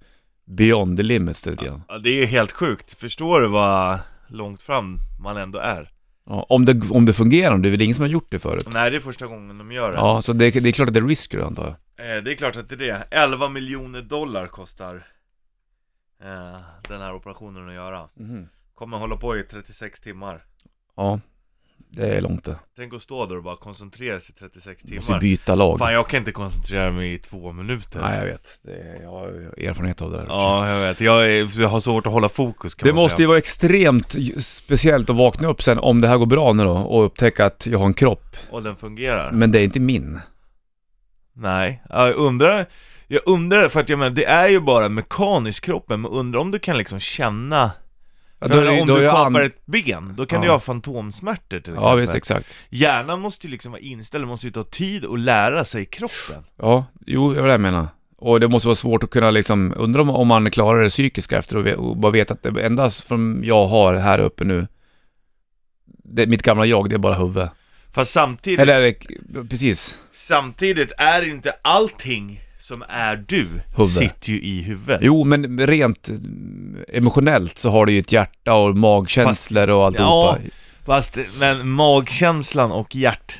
Speaker 1: beyond the limits lite grann.
Speaker 2: Ja, det är ju helt sjukt. Förstår du vad långt fram man ändå är?
Speaker 1: Ja, om, det, om det fungerar, det är väl ingen som har gjort det förut?
Speaker 2: Nej, det är första gången de gör det.
Speaker 1: Ja, så det, det är klart att det är risker antar jag.
Speaker 2: Eh, det är klart att det är det. 11 miljoner dollar kostar eh, den här operationen att göra. Kommer hålla på i 36 timmar.
Speaker 1: Ja, det är långt det.
Speaker 2: Tänk att stå där och bara koncentrera sig i 36
Speaker 1: Måste
Speaker 2: timmar.
Speaker 1: byta lag.
Speaker 2: Fan, jag kan inte koncentrera mig i två minuter.
Speaker 1: Nej, jag vet. Det är, jag har ju erfarenhet av det här.
Speaker 2: Ja, jag vet. Jag, är, jag har svårt att hålla fokus kan
Speaker 1: Det
Speaker 2: man
Speaker 1: måste ju
Speaker 2: säga.
Speaker 1: vara extremt ju- speciellt att vakna upp sen, om det här går bra nu då, och upptäcka att jag har en kropp,
Speaker 2: Och den fungerar.
Speaker 1: men det är inte min.
Speaker 2: Nej, Ja, jag undrar, jag undrar för att jag menar, det är ju bara en mekanisk kroppen, men undrar om du kan liksom känna,
Speaker 1: Ja,
Speaker 2: För jag menar,
Speaker 1: är-
Speaker 2: om
Speaker 1: är
Speaker 2: du
Speaker 1: jag
Speaker 2: kapar
Speaker 1: an-
Speaker 2: ett ben, då kan du
Speaker 1: Ja.
Speaker 2: ju ha fantomsmärtor till exempel.
Speaker 1: Ja, visst, exakt.
Speaker 2: Hjärnan måste ju liksom vara inställd, måste ju ta tid att lära sig kroppen.
Speaker 1: Ja, jo, det är det jag menar. Och det måste vara svårt att kunna liksom, undra om, om man klarar det psykiska efter och, ve- och bara veta att det enda som jag har här uppe nu, det, mitt gamla jag, det är bara huvudet.
Speaker 2: Fast samtidigt,
Speaker 1: Eller är det, precis,
Speaker 2: samtidigt är inte allting som är du,
Speaker 1: Huvud.
Speaker 2: sitter ju i huvudet.
Speaker 1: jo men rent mm, emotionellt så har du ju ett hjärta och magkänslor och alltihopa. Ja.
Speaker 2: Fast, men magkänslan och hjärt,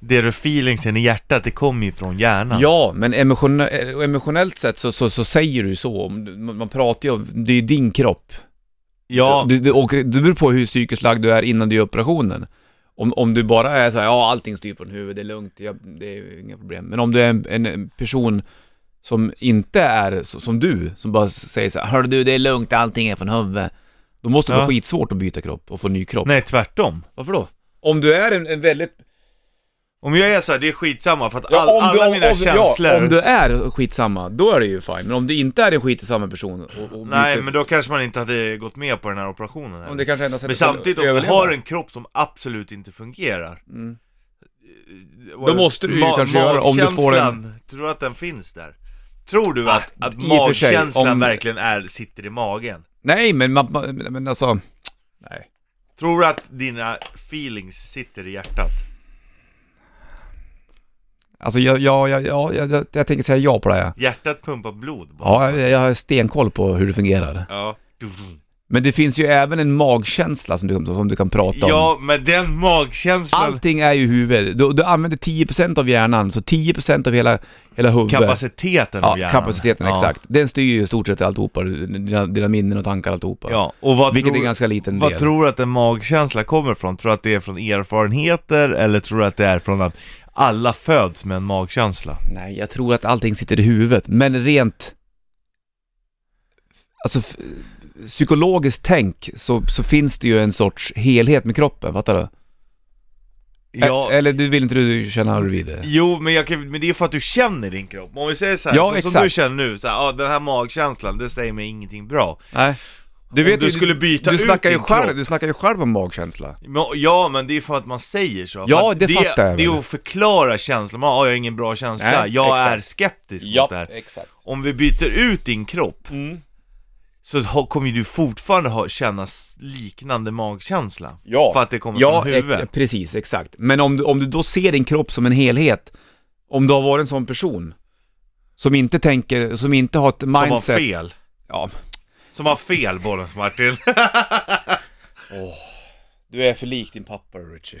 Speaker 2: det du feelingsen i hjärtat, det kommer ju från hjärnan.
Speaker 1: Ja, men emotione- eh, emotionellt sett så, så, så säger du ju så. Om du- Man man pratar ju om, det är ju din kropp.
Speaker 2: ja
Speaker 1: Det, det, och det beror på hur psykiskt lagd du är innan du gör operationen. Om, om du bara är såhär, ja allting styr på din huvud, det är lugnt, jag, det är inga problem. Men om du är en, en- en person som inte är så, som du, som bara säger såhär, hör du det är lugnt, allting är från huvudet. Då måste det
Speaker 2: Ja.
Speaker 1: vara skitsvårt att byta kropp och få ny kropp.
Speaker 2: nej tvärtom.
Speaker 1: Varför då? Om du är en, en väldigt...
Speaker 2: Om jag är såhär, det är skitsamma för att all,
Speaker 1: om
Speaker 2: alla
Speaker 1: du,
Speaker 2: mina känslor...
Speaker 1: Ja, om du är skitsamma, då är det ju fine. Men om du inte är en skitsamma person och, och
Speaker 2: Nej
Speaker 1: byter-
Speaker 2: men då kanske man inte hade gått med på den här operationen
Speaker 1: Om
Speaker 2: heller.
Speaker 1: det kanske är enda sättet
Speaker 2: Men
Speaker 1: att
Speaker 2: samtidigt, om du
Speaker 1: överleva.
Speaker 2: har en kropp som absolut inte fungerar
Speaker 1: Mm.
Speaker 2: eh,
Speaker 1: Då måste du ju
Speaker 2: ma-
Speaker 1: kanske göra om du får en-
Speaker 2: magkänslan, tror du att den finns där? Tror du att,
Speaker 1: Ah,
Speaker 2: att
Speaker 1: i och för sig,
Speaker 2: magkänslan
Speaker 1: om-
Speaker 2: verkligen är, sitter i magen?
Speaker 1: Nej, men, man, man, men alltså... Nej.
Speaker 2: Tror du att dina feelings sitter i hjärtat?
Speaker 1: Alltså jag, jag, jag, jag, jag, jag, jag tänker säga ja på det här.
Speaker 2: Hjärtat pumpar blod bara
Speaker 1: Ja, jag, jag har stenkoll på hur det fungerar.
Speaker 2: Ja,
Speaker 1: Men det finns ju även en magkänsla som du, som du kan prata om.
Speaker 2: ja men den magkänslan,
Speaker 1: Allting är ju huvudet. Du, du använder 10% av hjärnan, så 10% av hela, hela huvudet.
Speaker 2: kapaciteten av
Speaker 1: ja,
Speaker 2: hjärnan
Speaker 1: kapaciteten,
Speaker 2: Ja.
Speaker 1: exakt. Den styr ju i stort sett alltihopa, dina, dina minnen och tankar alltihopa.
Speaker 2: Ja, och vad
Speaker 1: Vilket
Speaker 2: tror,
Speaker 1: är en ganska liten
Speaker 2: Vad
Speaker 1: del.
Speaker 2: tror du att en magkänsla kommer från? Tror du att det är från erfarenheter eller tror du att det är från att alla föds med en magkänsla?
Speaker 1: Nej, jag tror att allting sitter i huvudet, men rent... Alltså, f- psykologiskt tänk så, så finns det ju en sorts helhet med kroppen, fattar du?
Speaker 2: Ja,
Speaker 1: E- Eller du vill inte du känna hur du vill det?
Speaker 2: jo men, jag kan, men det är för att du känner din kropp. Om vi säger så här,
Speaker 1: Ja,
Speaker 2: så, som
Speaker 1: exakt.
Speaker 2: du känner nu, så här, ja, den här magkänslan, det säger mig ingenting bra.
Speaker 1: Nej. Du
Speaker 2: Om du skulle byta
Speaker 1: du
Speaker 2: ut
Speaker 1: snackar ju
Speaker 2: din
Speaker 1: själv,
Speaker 2: kropp.
Speaker 1: Du snackar ju själv om magkänsla.
Speaker 2: Men, ja men det är för att man säger så.
Speaker 1: Ja,
Speaker 2: För att
Speaker 1: det fattar jag
Speaker 2: Det
Speaker 1: väl.
Speaker 2: är att förklara känslan, man, ja, jag har ingen bra känsla,
Speaker 1: Nej,
Speaker 2: jag
Speaker 1: exakt.
Speaker 2: är skeptisk mot det här.
Speaker 1: exakt.
Speaker 2: Mm. Om vi byter ut din kropp så ha- kommer ju du fortfarande ha, känna s- liknande magkänsla.
Speaker 1: Ja.
Speaker 2: För att det kommer
Speaker 1: Ja,
Speaker 2: från
Speaker 1: ex-
Speaker 2: huvudet.
Speaker 1: precis, exakt. Men om du, om du då ser din kropp som en helhet, om du har varit en sån person som inte tänker, som inte har ett
Speaker 2: Som har
Speaker 1: mindset...
Speaker 2: fel.
Speaker 1: Ja.
Speaker 2: Som har fel, bollens Martin.
Speaker 1: Du är för lik din pappa, Richie.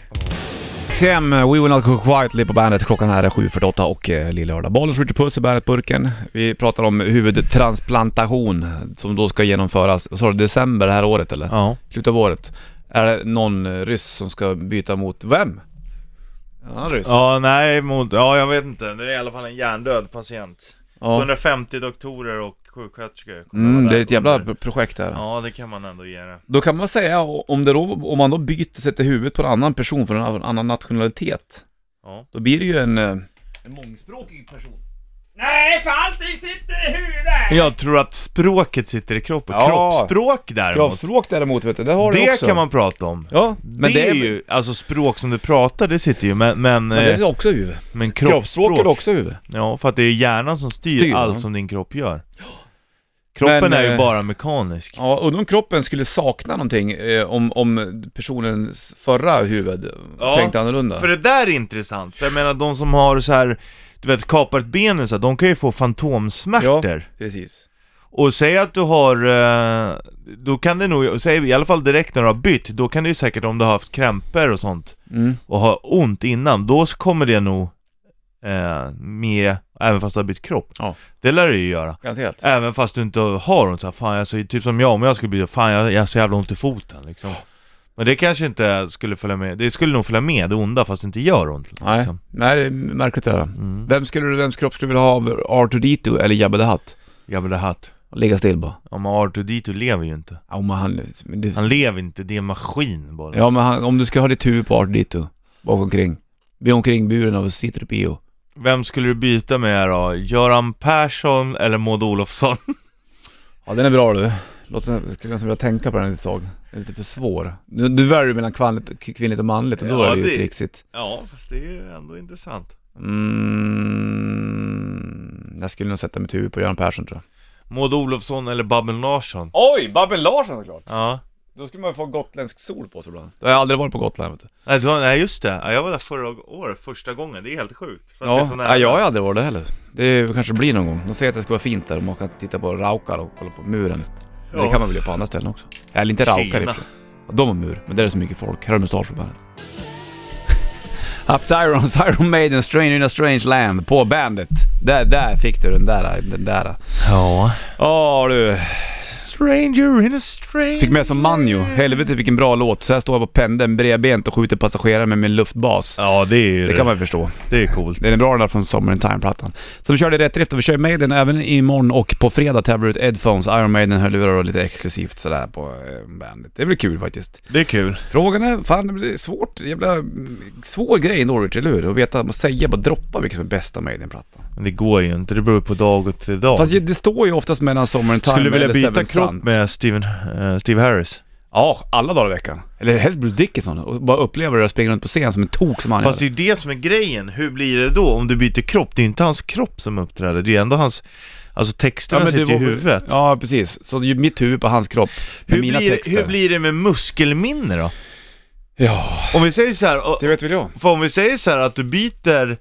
Speaker 1: XM, We Will Not Go Quietly på bandet. Klockan här är 7.48 och eh, Lill-Lördag. Bollens Richie Puss i Bandet-burken. Vi pratar om huvudtransplantation som då ska genomföras, sa du december det här året eller?
Speaker 2: ja.
Speaker 1: Slutet av året. Är det någon eh, ryss som ska byta mot vem? En annan ryss?
Speaker 2: Ja, nej, mot, ja jag vet inte. Det är i alla fall en hjärndöd patient.
Speaker 1: Ja.
Speaker 2: 150 doktorer och sjuksköterskor. kommer
Speaker 1: Mm,
Speaker 2: vara
Speaker 1: det är
Speaker 2: där
Speaker 1: ett jävla
Speaker 2: under.
Speaker 1: projekt där.
Speaker 2: Ja, det kan man ändå ge det.
Speaker 1: Då kan man säga, om, det då, om man då byter, sätter huvudet på en annan person från en annan- annan nationalitet,
Speaker 2: Ja.
Speaker 1: då blir det ju en... eh, En mångspråkig person.
Speaker 4: Nej, för allting sitter i huvudet!
Speaker 2: Jag tror att språket sitter i kroppen.
Speaker 1: Ja.
Speaker 2: Kroppsspråk däremot.
Speaker 1: Kravspråk däremot, vet du, det har du
Speaker 2: det
Speaker 1: också.
Speaker 2: kan man prata om.
Speaker 1: Ja, men
Speaker 2: det, är ju, alltså språk som du pratar, det sitter ju, men, men,
Speaker 1: Men det
Speaker 2: men,
Speaker 1: är också huvud.
Speaker 2: men eh, kroppsspråk.
Speaker 1: Kroppsspråk är också huvud.
Speaker 2: Ja, för att det är hjärnan som styr,
Speaker 1: Styr,
Speaker 2: allt
Speaker 1: ja.
Speaker 2: som din kropp gör. Kroppen
Speaker 1: Men,
Speaker 2: är ju
Speaker 1: eh,
Speaker 2: bara mekanisk.
Speaker 1: Ja, undrar om kroppen skulle sakna någonting eh, om, om personens förra huvud eh,
Speaker 2: Ja,
Speaker 1: tänkte annorlunda.
Speaker 2: För det där är intressant. Jag menar de som har så här, du vet, kapar ett ben och så här, de kan ju få fantomsmärtor.
Speaker 1: Ja, precis.
Speaker 2: Och säg att du har, eh, då kan det nog, säg i alla fall direkt när du har bytt, då kan det ju säkert om du har haft krämpor och sånt
Speaker 1: Mm.
Speaker 2: och har ont innan, då kommer det nog eh, med, även fast du har bytt kropp.
Speaker 1: Ja.
Speaker 2: Det lär det ju göra.
Speaker 1: Garanterat.
Speaker 2: Även fast du inte har ont, så här, fan jag så, typ som jag, om jag skulle bli fan jag, jag har så jävla ont i foten liksom. Men det kanske inte skulle följa med, det skulle nog följa med det onda fast det inte gör ont. Liksom.
Speaker 1: Nej, Nej, det är märkligt det där.
Speaker 2: Mm.
Speaker 1: Vem skulle du, vems kropp skulle du vilja ha av R2D2 eller Jabba the Hutt?
Speaker 2: Jag vill ha hatt.
Speaker 1: Ligga still bara.
Speaker 2: Om R2D2 lever ju inte.
Speaker 1: Ja, men han, men det,
Speaker 2: Han lever inte, det är en maskin bara.
Speaker 1: ja, men han, om du ska ha ditt huvud på Art Dito, bakomkring. Bli omkringburen av Citripio.
Speaker 2: Vem skulle du byta med då? Göran Persson eller Maud Olofsson?
Speaker 1: Ja den är bra du. Låt den, jag skulle nästan vilja tänka på den ett tag. Den är lite för svår. Du, du väljer ju mellan kvanligt, k- kvinnligt och manligt och då
Speaker 2: Ja,
Speaker 1: är det ju
Speaker 2: det-
Speaker 1: trixigt.
Speaker 2: Ja, fast det är ju ändå intressant.
Speaker 1: Mm, jag skulle nog sätta mitt huvud på Göran Persson tror jag.
Speaker 2: Maud Olofsson eller Babben Larsson?
Speaker 1: Oj! Babben Larsson såklart!
Speaker 2: Ja.
Speaker 1: Då skulle man ju få gotländsk sol på sig ibland. Jag har aldrig varit på Gotland vet du.
Speaker 2: Nej, det var, nej just det. Ja, Jag var där förra året, första gången. Det är helt sjukt. Fast det är
Speaker 1: Ja,
Speaker 2: så nära.
Speaker 1: ja, jag har aldrig varit där heller. Det kanske blir någon gång. De säger att det ska vara fint där och man kan titta på raukar och kolla på muren. Men det
Speaker 2: Ja.
Speaker 1: kan man väl göra på andra ställen också? Eller inte raukar i och för
Speaker 2: Kina.
Speaker 1: sig. Ja, De har mur, men där är så mycket folk. Här har de mustasch på bandet. Up to Irons, Iron Maiden, Stranger in a Strange Land på bandet. Där, där fick du den där. Den där.
Speaker 2: Ja.
Speaker 1: Åh du.
Speaker 2: Stranger in a stranger.
Speaker 1: Fick med som Manjo. Helvete vilken bra låt. Så här står jag på pendeln bredbent och skjuter passagerare med min luftbas.
Speaker 2: Ja, det är ju
Speaker 1: Det kan man ju förstå.
Speaker 2: det är coolt.
Speaker 1: Den är bra den där från Summer in Time-plattan. Så vi körde i rätt drift och vi kör Maiden även imorgon och på fredag tävlar vi ut Edphones, Iron Maiden, hörlurar och lite exklusivt sådär på eh, bandet. Det blir kul faktiskt.
Speaker 2: Det är kul.
Speaker 1: Frågan är, fan det är svårt, jävla mm, svår grej ändå Richard, eller hur? Att veta, att säga, bara droppa vilken som är bästa Maiden-plattan.
Speaker 2: Men det går ju inte. Det beror på dag och till dag.
Speaker 1: Fast ju- det står ju oftast mellan Summer in Time
Speaker 2: Skulle du vilja
Speaker 1: eller
Speaker 2: byta
Speaker 1: Seven
Speaker 2: kropp
Speaker 1: Sons.
Speaker 2: med Steven, eh, Steve Harris?
Speaker 1: Ja, alla dagar i veckan. Eller helst Bruce Dickinson och bara uppleva det och springa runt på scen som en tok som han
Speaker 2: Fast det
Speaker 1: gör.
Speaker 2: är ju det som är grejen. Hur blir det då om du byter kropp? Det är ju inte hans kropp som uppträder. Det är ändå hans... Alltså texterna
Speaker 1: men det
Speaker 2: sitter i
Speaker 1: var-
Speaker 2: huvudet.
Speaker 1: Ja, precis. Så det är ju mitt huvud på hans kropp med
Speaker 2: Hur
Speaker 1: mina
Speaker 2: blir,
Speaker 1: texter.
Speaker 2: hur blir det med muskelminne då?
Speaker 1: Ja,
Speaker 2: Om vi säger så här, och-
Speaker 1: det vet väl jag.
Speaker 2: För om vi säger så här att du byter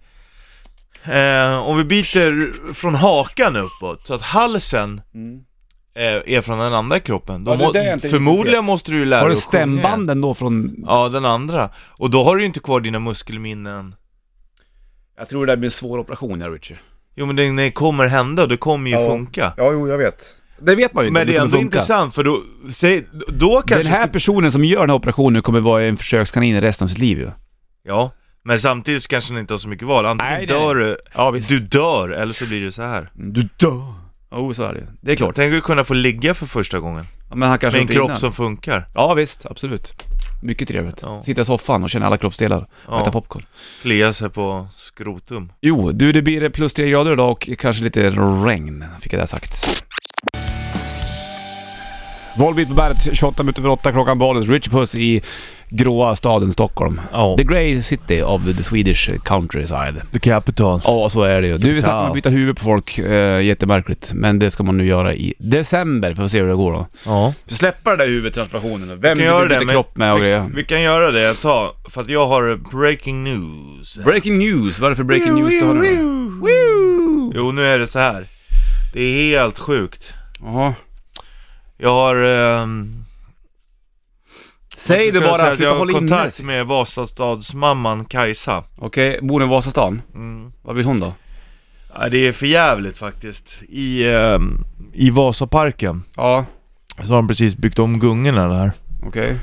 Speaker 2: eh, Om vi byter från hakan uppåt så att halsen eh, är från den andra kroppen då
Speaker 1: Ja, det
Speaker 2: må-
Speaker 1: är det jag inte riktigt
Speaker 2: Förmodligen
Speaker 1: vet.
Speaker 2: måste du ju lära
Speaker 1: Har du
Speaker 2: dig att sjunga igen.
Speaker 1: stämbanden då från...
Speaker 2: Ja, den andra. Och då har du ju inte kvar dina muskelminnen
Speaker 1: Jag tror det där blir en svår operation här Richard.
Speaker 2: Jo men den den kommer hända och det kommer ju
Speaker 1: Ja.
Speaker 2: funka
Speaker 1: Ja, jo jag vet. Det vet man ju inte.
Speaker 2: Men det är
Speaker 1: kommer
Speaker 2: ändå
Speaker 1: funka.
Speaker 2: intressant för då, säg, då kanske
Speaker 1: Den här
Speaker 2: skulle-
Speaker 1: personen som gör den här operationen nu kommer vara en försökskanin resten av sitt liv ju.
Speaker 2: Mm. Ja, men samtidigt så kanske den inte har så mycket val Antingen
Speaker 1: Nej, det-
Speaker 2: dör du,
Speaker 1: Ja visst.
Speaker 2: du dör eller så blir det så här
Speaker 1: Du dör. Jo, så är det ju. Det är klart.
Speaker 2: Tänk att kunna få ligga för första gången
Speaker 1: Ja, Men han kanske
Speaker 2: Med en
Speaker 1: inte
Speaker 2: kropp
Speaker 1: innan.
Speaker 2: som funkar
Speaker 1: Ja visst, absolut. Mycket trevligt.
Speaker 2: Ja.
Speaker 1: Sitta i soffan och känna alla kroppsdelar. Och
Speaker 2: Ja.
Speaker 1: äta popcorn.
Speaker 2: klia sig på skrotum.
Speaker 1: Jo, du det blir plus tre grader idag och kanske lite regn, fick jag där sagt. Volbeat på bandet, 28 minuter över 8 klockan Balus. Richie Puss i gråa staden Stockholm.
Speaker 2: Ja.
Speaker 1: The Grey City of the Swedish countryside.
Speaker 2: The Capital.
Speaker 1: Ja, så är det ju. Du, vi snackade om att byta huvud på folk. Eh, jättemärkligt. Men det ska man nu göra i december, för att se hur det går då.
Speaker 2: Ja.
Speaker 1: Släppa den där huvudtransplantationen då. Vem
Speaker 2: Vi
Speaker 1: vill
Speaker 2: kan
Speaker 1: du
Speaker 2: göra det,
Speaker 1: byta
Speaker 2: men-
Speaker 1: kropp med och grejer?
Speaker 2: Vi kan göra det ett tag, för att jag har breaking news.
Speaker 1: Breaking news, vad är det för breaking news du har nu? Woo!
Speaker 2: Jo, nu är det så här. Det är helt sjukt.
Speaker 1: Jaha.
Speaker 2: Jag har... ehm,
Speaker 1: Säg
Speaker 2: jag
Speaker 1: det
Speaker 2: skulle kunna säga
Speaker 1: bara,
Speaker 2: att Jag
Speaker 1: sluta
Speaker 2: har
Speaker 1: hålla inne.
Speaker 2: kontakt med Vasastadsmamman Kajsa.
Speaker 1: Okej, bor i Vasastan.
Speaker 2: Mm.
Speaker 1: Vad vill hon då?
Speaker 2: Ja, det är för jävligt faktiskt. I, ehm, I Vasaparken
Speaker 1: Ja,
Speaker 2: så har de precis byggt om gungorna där.
Speaker 1: okej.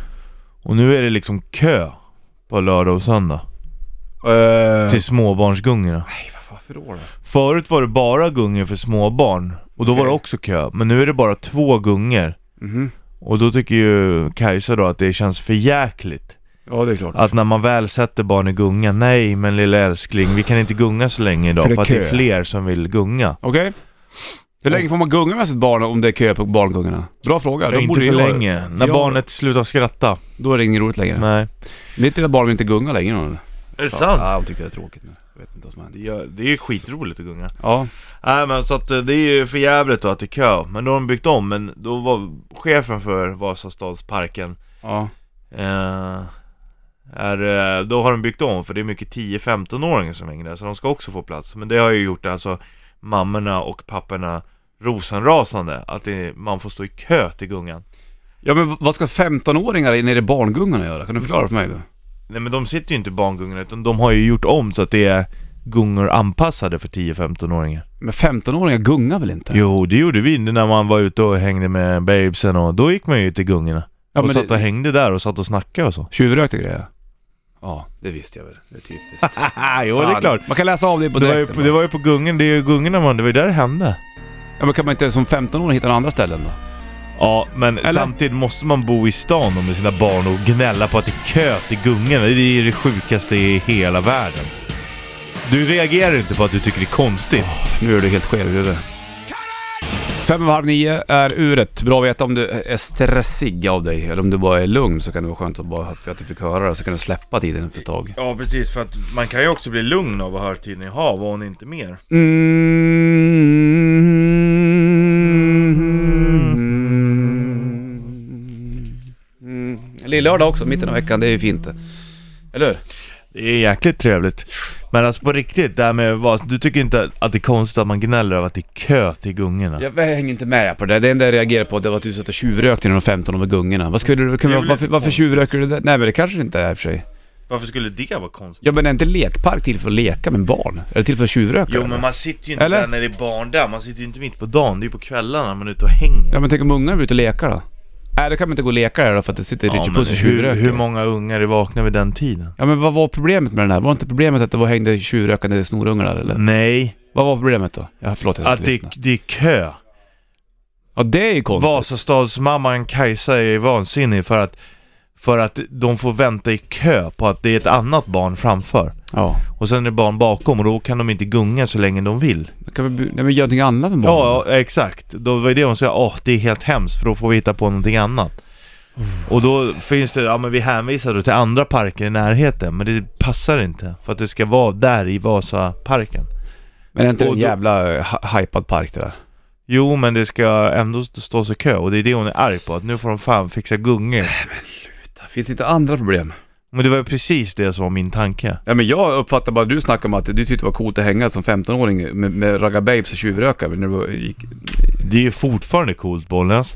Speaker 2: Och nu är det liksom kö på lördag och söndag
Speaker 1: Eh,
Speaker 2: till småbarnsgungorna.
Speaker 1: Nej, vad- varför då? då?
Speaker 2: Förut var det bara gungor för småbarn och då var det
Speaker 1: Okej.
Speaker 2: också kö. Men nu är det bara två gungor.
Speaker 1: Mhm.
Speaker 2: Och då tycker ju Kajsa då att det känns för jäkligt.
Speaker 1: Ja, det är klart.
Speaker 2: Att när man väl sätter barn i gunga, nej men lilla älskling, vi kan inte gunga så länge idag
Speaker 1: För det
Speaker 2: för,
Speaker 1: är
Speaker 2: att det är
Speaker 1: kö.
Speaker 2: fler som vill gunga.
Speaker 1: Okej. Hur länge får man gunga med sitt barn om det är kö på barngungorna? Bra fråga. Då
Speaker 2: inte
Speaker 1: borde
Speaker 2: för
Speaker 1: jag-
Speaker 2: länge, när
Speaker 1: Ja.
Speaker 2: barnet slutar skratta.
Speaker 1: Då är det inget roligt längre.
Speaker 2: Nej.
Speaker 1: Mitt lilla barn vill inte gunga längre nu.
Speaker 2: Är det sant?
Speaker 1: Ja, hon tycker det är tråkigt nu. Jag vet inte vad som händer.
Speaker 2: Det är, det är ju skitroligt att gunga.
Speaker 1: Ja,
Speaker 2: Nej men så att eh, det är ju för jävligt då att det är kö. Men då har de byggt om, men då var chefen för Vasastadsparken
Speaker 1: ja.
Speaker 2: eh, är, eh, då har de byggt om för det är mycket 10-15-åringar som hänger där så de ska också få plats. Men det har ju gjort alltså mammorna och papporna rosenrasande att det, man får stå i kö till gungan.
Speaker 1: Ja men vad ska 15-åringar nere i barngungorna göra? Kan du förklara för mig då?
Speaker 2: Nej men de sitter ju inte i barngungorna utan de har ju gjort om så att det är gungor anpassade för 10-15-åringar.
Speaker 1: Men 15-åringar gungar väl inte?
Speaker 2: Jo, det gjorde vi när man var ute och hängde med babesen och då gick man ju till gungorna.
Speaker 1: ja,
Speaker 2: och
Speaker 1: men
Speaker 2: satt och
Speaker 1: det,
Speaker 2: hängde där och satt och snackade och så.
Speaker 1: tjuvrökte grejer? Ja, det visste jag väl. Det är typiskt.
Speaker 2: Haha, jo det är
Speaker 1: Fan,
Speaker 2: klart.
Speaker 1: Man kan läsa av det på
Speaker 2: Det var, ju,
Speaker 1: direkten.
Speaker 2: det var ju på gungorna, det är ju gungorna man, det var ju där det hände.
Speaker 1: Ja, men kan man inte som 15-åring hitta några andra ställen då?
Speaker 2: Ja, men
Speaker 1: Eller?
Speaker 2: samtidigt måste man bo i stan då med sina barn och gnälla på att det är kö till gungorna. Det är ju det sjukaste i hela världen. Du reagerar inte på att du tycker det är konstigt.
Speaker 1: Nu är du helt skev i huvudet. Fem över halv nio är uret. Bra att veta om du är stressig av dig eller om du bara är lugn så kan det vara skönt att bara för att du fick höra det så kan du släppa tiden för ett tag.
Speaker 2: Ja, precis. För att man kan ju också bli lugn av att höra tidningen Hav och inte mer.
Speaker 1: Mm. Lillördag också, mitten av veckan, det är ju fint det. Eller hur?
Speaker 2: Det är jäkligt trevligt. Men alltså på riktigt, det här med vad, du tycker inte att det är konstigt att man gnäller över att det är kö till gungorna?
Speaker 1: Jag hänger inte med på det där. Det enda jag reagerar på det var att du satt och tjuvrökte när du var 15 och med gungorna. Vad skulle du,
Speaker 2: Det
Speaker 1: kunna,
Speaker 2: är väl
Speaker 1: varför,
Speaker 2: lite
Speaker 1: varför
Speaker 2: konstigt.
Speaker 1: tjuvryker du det? Nej men det kanske det inte är i och för sig.
Speaker 2: Varför skulle det vara konstigt?
Speaker 1: Ja men är inte lekpark till för att leka med barn? Är det till för att tjuvryka?
Speaker 2: Jo
Speaker 1: eller?
Speaker 2: men man sitter ju inte
Speaker 1: Eller?
Speaker 2: där när det är barn där, man sitter ju inte mitt på dagen, det är ju på kvällarna man är ute och hänger.
Speaker 1: Ja men tänk om ungarna är ute och lekar då? Nej då kan man inte gå och leka där då för att det sitter
Speaker 2: Ja,
Speaker 1: Richie
Speaker 2: men
Speaker 1: Puss och
Speaker 2: hur,
Speaker 1: tjuvröker.
Speaker 2: hur många ungar är vakna vid den tiden?
Speaker 1: Ja men vad var problemet med den här? Var inte problemet att det var hängde tjuvrökande snorungar där eller?
Speaker 2: Nej,
Speaker 1: Vad var problemet då? Ja, förlåt jag ska
Speaker 2: att
Speaker 1: inte
Speaker 2: det,
Speaker 1: lyssna.
Speaker 2: det är kö.
Speaker 1: Ja det är ju konstigt.
Speaker 2: Vasastadsmamman Kajsa är vansinnig för att, för att de får vänta i kö på att det är ett annat barn framför.
Speaker 1: Ja.
Speaker 2: Och sen är det barn bakom och då kan de inte gunga så länge de vill.
Speaker 1: Då kan vi bu- Nej men gör någonting annat än barn.
Speaker 2: Ja, ja exakt. Då var det hon sa, åh det är helt hemskt för då får vi hitta på någonting annat.
Speaker 1: Mm.
Speaker 2: Och då finns det, ja men vi hänvisar då till andra parker i närheten men det passar inte för att det ska vara där i Vasaparken.
Speaker 1: Men är inte det
Speaker 2: Och
Speaker 1: en
Speaker 2: då-
Speaker 1: jävla eh, hy- hypad park det där?
Speaker 2: Jo men det ska ändå st- stå sig kö och det är det hon är arg på, att nu får de fan fixa gungor.
Speaker 1: Finns inte andra problem?
Speaker 2: Men det var ju precis det som var min tanke.
Speaker 1: Ja, men jag uppfattar bara, du snackar om att du tyckte det var coolt att hänga som 15-åring med, med raggarbabes och tjuvröka. När du var- gick...
Speaker 2: Det är ju fortfarande coolt Bollnäs.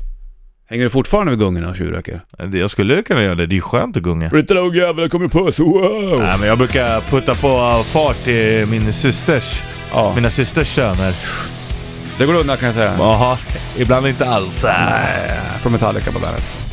Speaker 1: Hänger du fortfarande vid gungorna och tjuvröker?
Speaker 2: Det- Jag skulle kunna göra det, det är ju skönt att gunga.
Speaker 1: Flytta dig ungjävel, jag kommer puss, wow!
Speaker 2: Nej men jag brukar putta på fart till min systers,
Speaker 1: Ja,
Speaker 2: mina systers söner.
Speaker 1: det går undan kan jag säga.
Speaker 2: Jaha, ibland inte alls.
Speaker 1: Från Metallica på bandet.